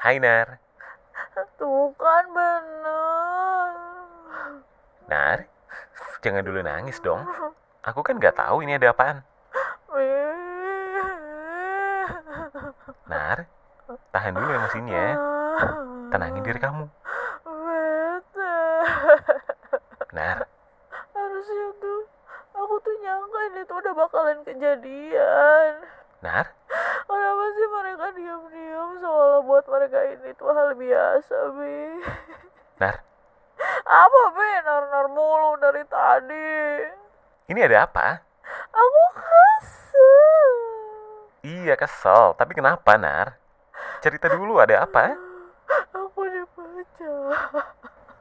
Hai Nar. Tuh kan bener. Nar, jangan dulu nangis dong. Aku kan nggak tahu ini ada apaan. Nar, tahan dulu emosinya. Iya. Tenangin diri kamu. Bete. Nar, Harusnya tuh aku tuh nyangka ini tuh udah bakalan kejadian. Nar, Kenapa sih mereka diam-diam seolah buat mereka ini tuh hal biasa, Bi? Nar. Apa, Bi? Nar-nar mulu dari tadi. Ini ada apa? Aku kesel. Iya kesel, tapi kenapa Nar? Cerita dulu ada apa? Aku dipecat.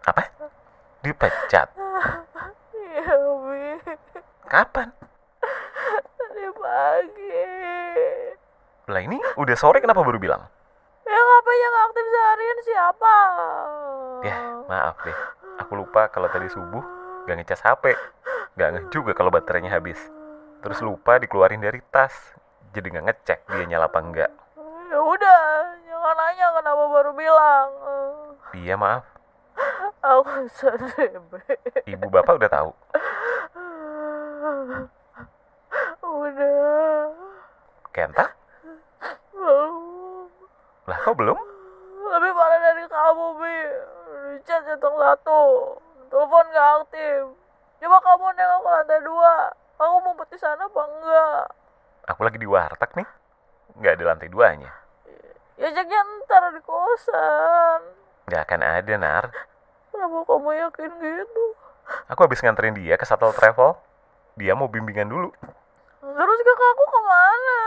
Apa? Dipecat? Iya, Bi. Kapan? Tadi pagi. Lah ini udah sore kenapa baru bilang? Ya ngapain yang aktif seharian siapa? Ya, maaf deh. Aku lupa kalau tadi subuh gak ngecas HP. Gak ngeh juga kalau baterainya habis. Terus lupa dikeluarin dari tas. Jadi gak ngecek dia nyala apa enggak. Ya udah, jangan nanya kenapa baru bilang. Iya maaf, Aku sedih. Be. ibu bapak udah tahu. Udah. Kenta? Belum. Lah kok belum? Lebih parah dari kamu, Bi. Di Chat hitung satu. Telepon gak aktif. Coba kamu nengok ke lantai dua. Aku ngumpet di sana apa enggak? Aku lagi di warteg nih. Nggak ada lantai duanya. Ya ceknya ntar di kosan. Nggak akan ada, Nar. Kenapa kamu yakin gitu? Aku habis nganterin dia ke Shuttle Travel. Dia mau bimbingan dulu. Terus kakakku kemana?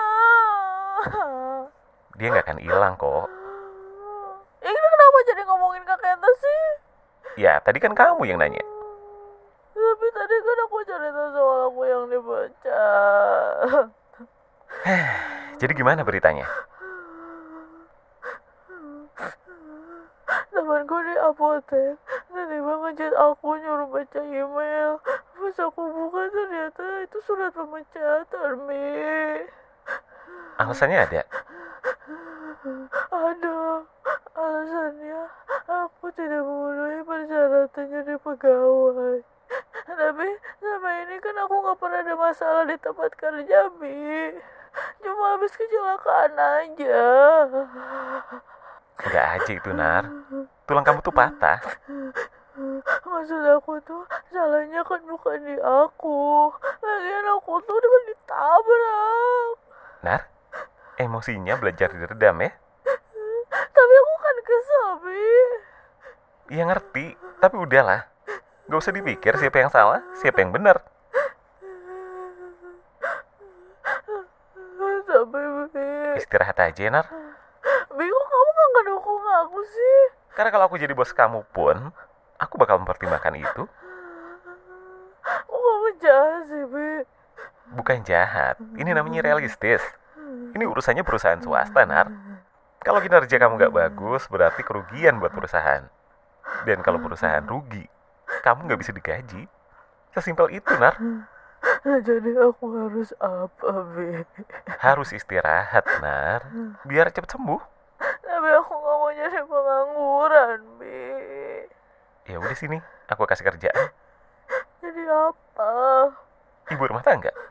Dia nggak akan hilang kok. Ya kita kenapa jadi ngomongin kak Kenta sih? Ya, tadi kan kamu yang nanya. Tapi tadi kan aku cerita soal aku yang dipecat. Jadi gimana beritanya? Temanku di apotek tiba-tiba ngechat aku nyuruh baca email Pas aku buka ternyata itu surat pemecatan Mi Alasannya ada. Ada alasannya aku tidak memenuhi persyaratan jadi pegawai Tapi sama ini kan aku gak pernah ada masalah di tempat kerja Mi Cuma habis kecelakaan aja Nggak aja itu, Nar. Tulang kamu tuh patah. Maksud aku tuh salahnya kan bukan di aku. Lagian aku tuh kan ditabrak. Nar, emosinya belajar diredam ya. Tapi aku kan kesel, Bi. Iya ngerti, tapi udahlah. Gak usah dipikir siapa yang salah, siapa yang benar. Tapi Bi, Istirahat aja, Nar. Bi kok kamu gak ngedukung aku sih? Karena kalau aku jadi bos kamu pun, aku bakal mempertimbangkan itu. Kok kamu jahat sih, Bi? Bukan jahat, ini namanya realistis. Ini urusannya perusahaan swasta, Nar. Kalau kinerja kamu nggak bagus, berarti kerugian buat perusahaan. Dan kalau perusahaan rugi, kamu nggak bisa digaji. Sesimpel itu, Nar. Jadi aku harus apa, Bi? Harus istirahat, Nar. Biar cepet sembuh. Tapi aku gak mau jadi pengangguran, Bi. Ya udah sini, aku kasih kerjaan. Jadi apa? Ibu rumah tangga.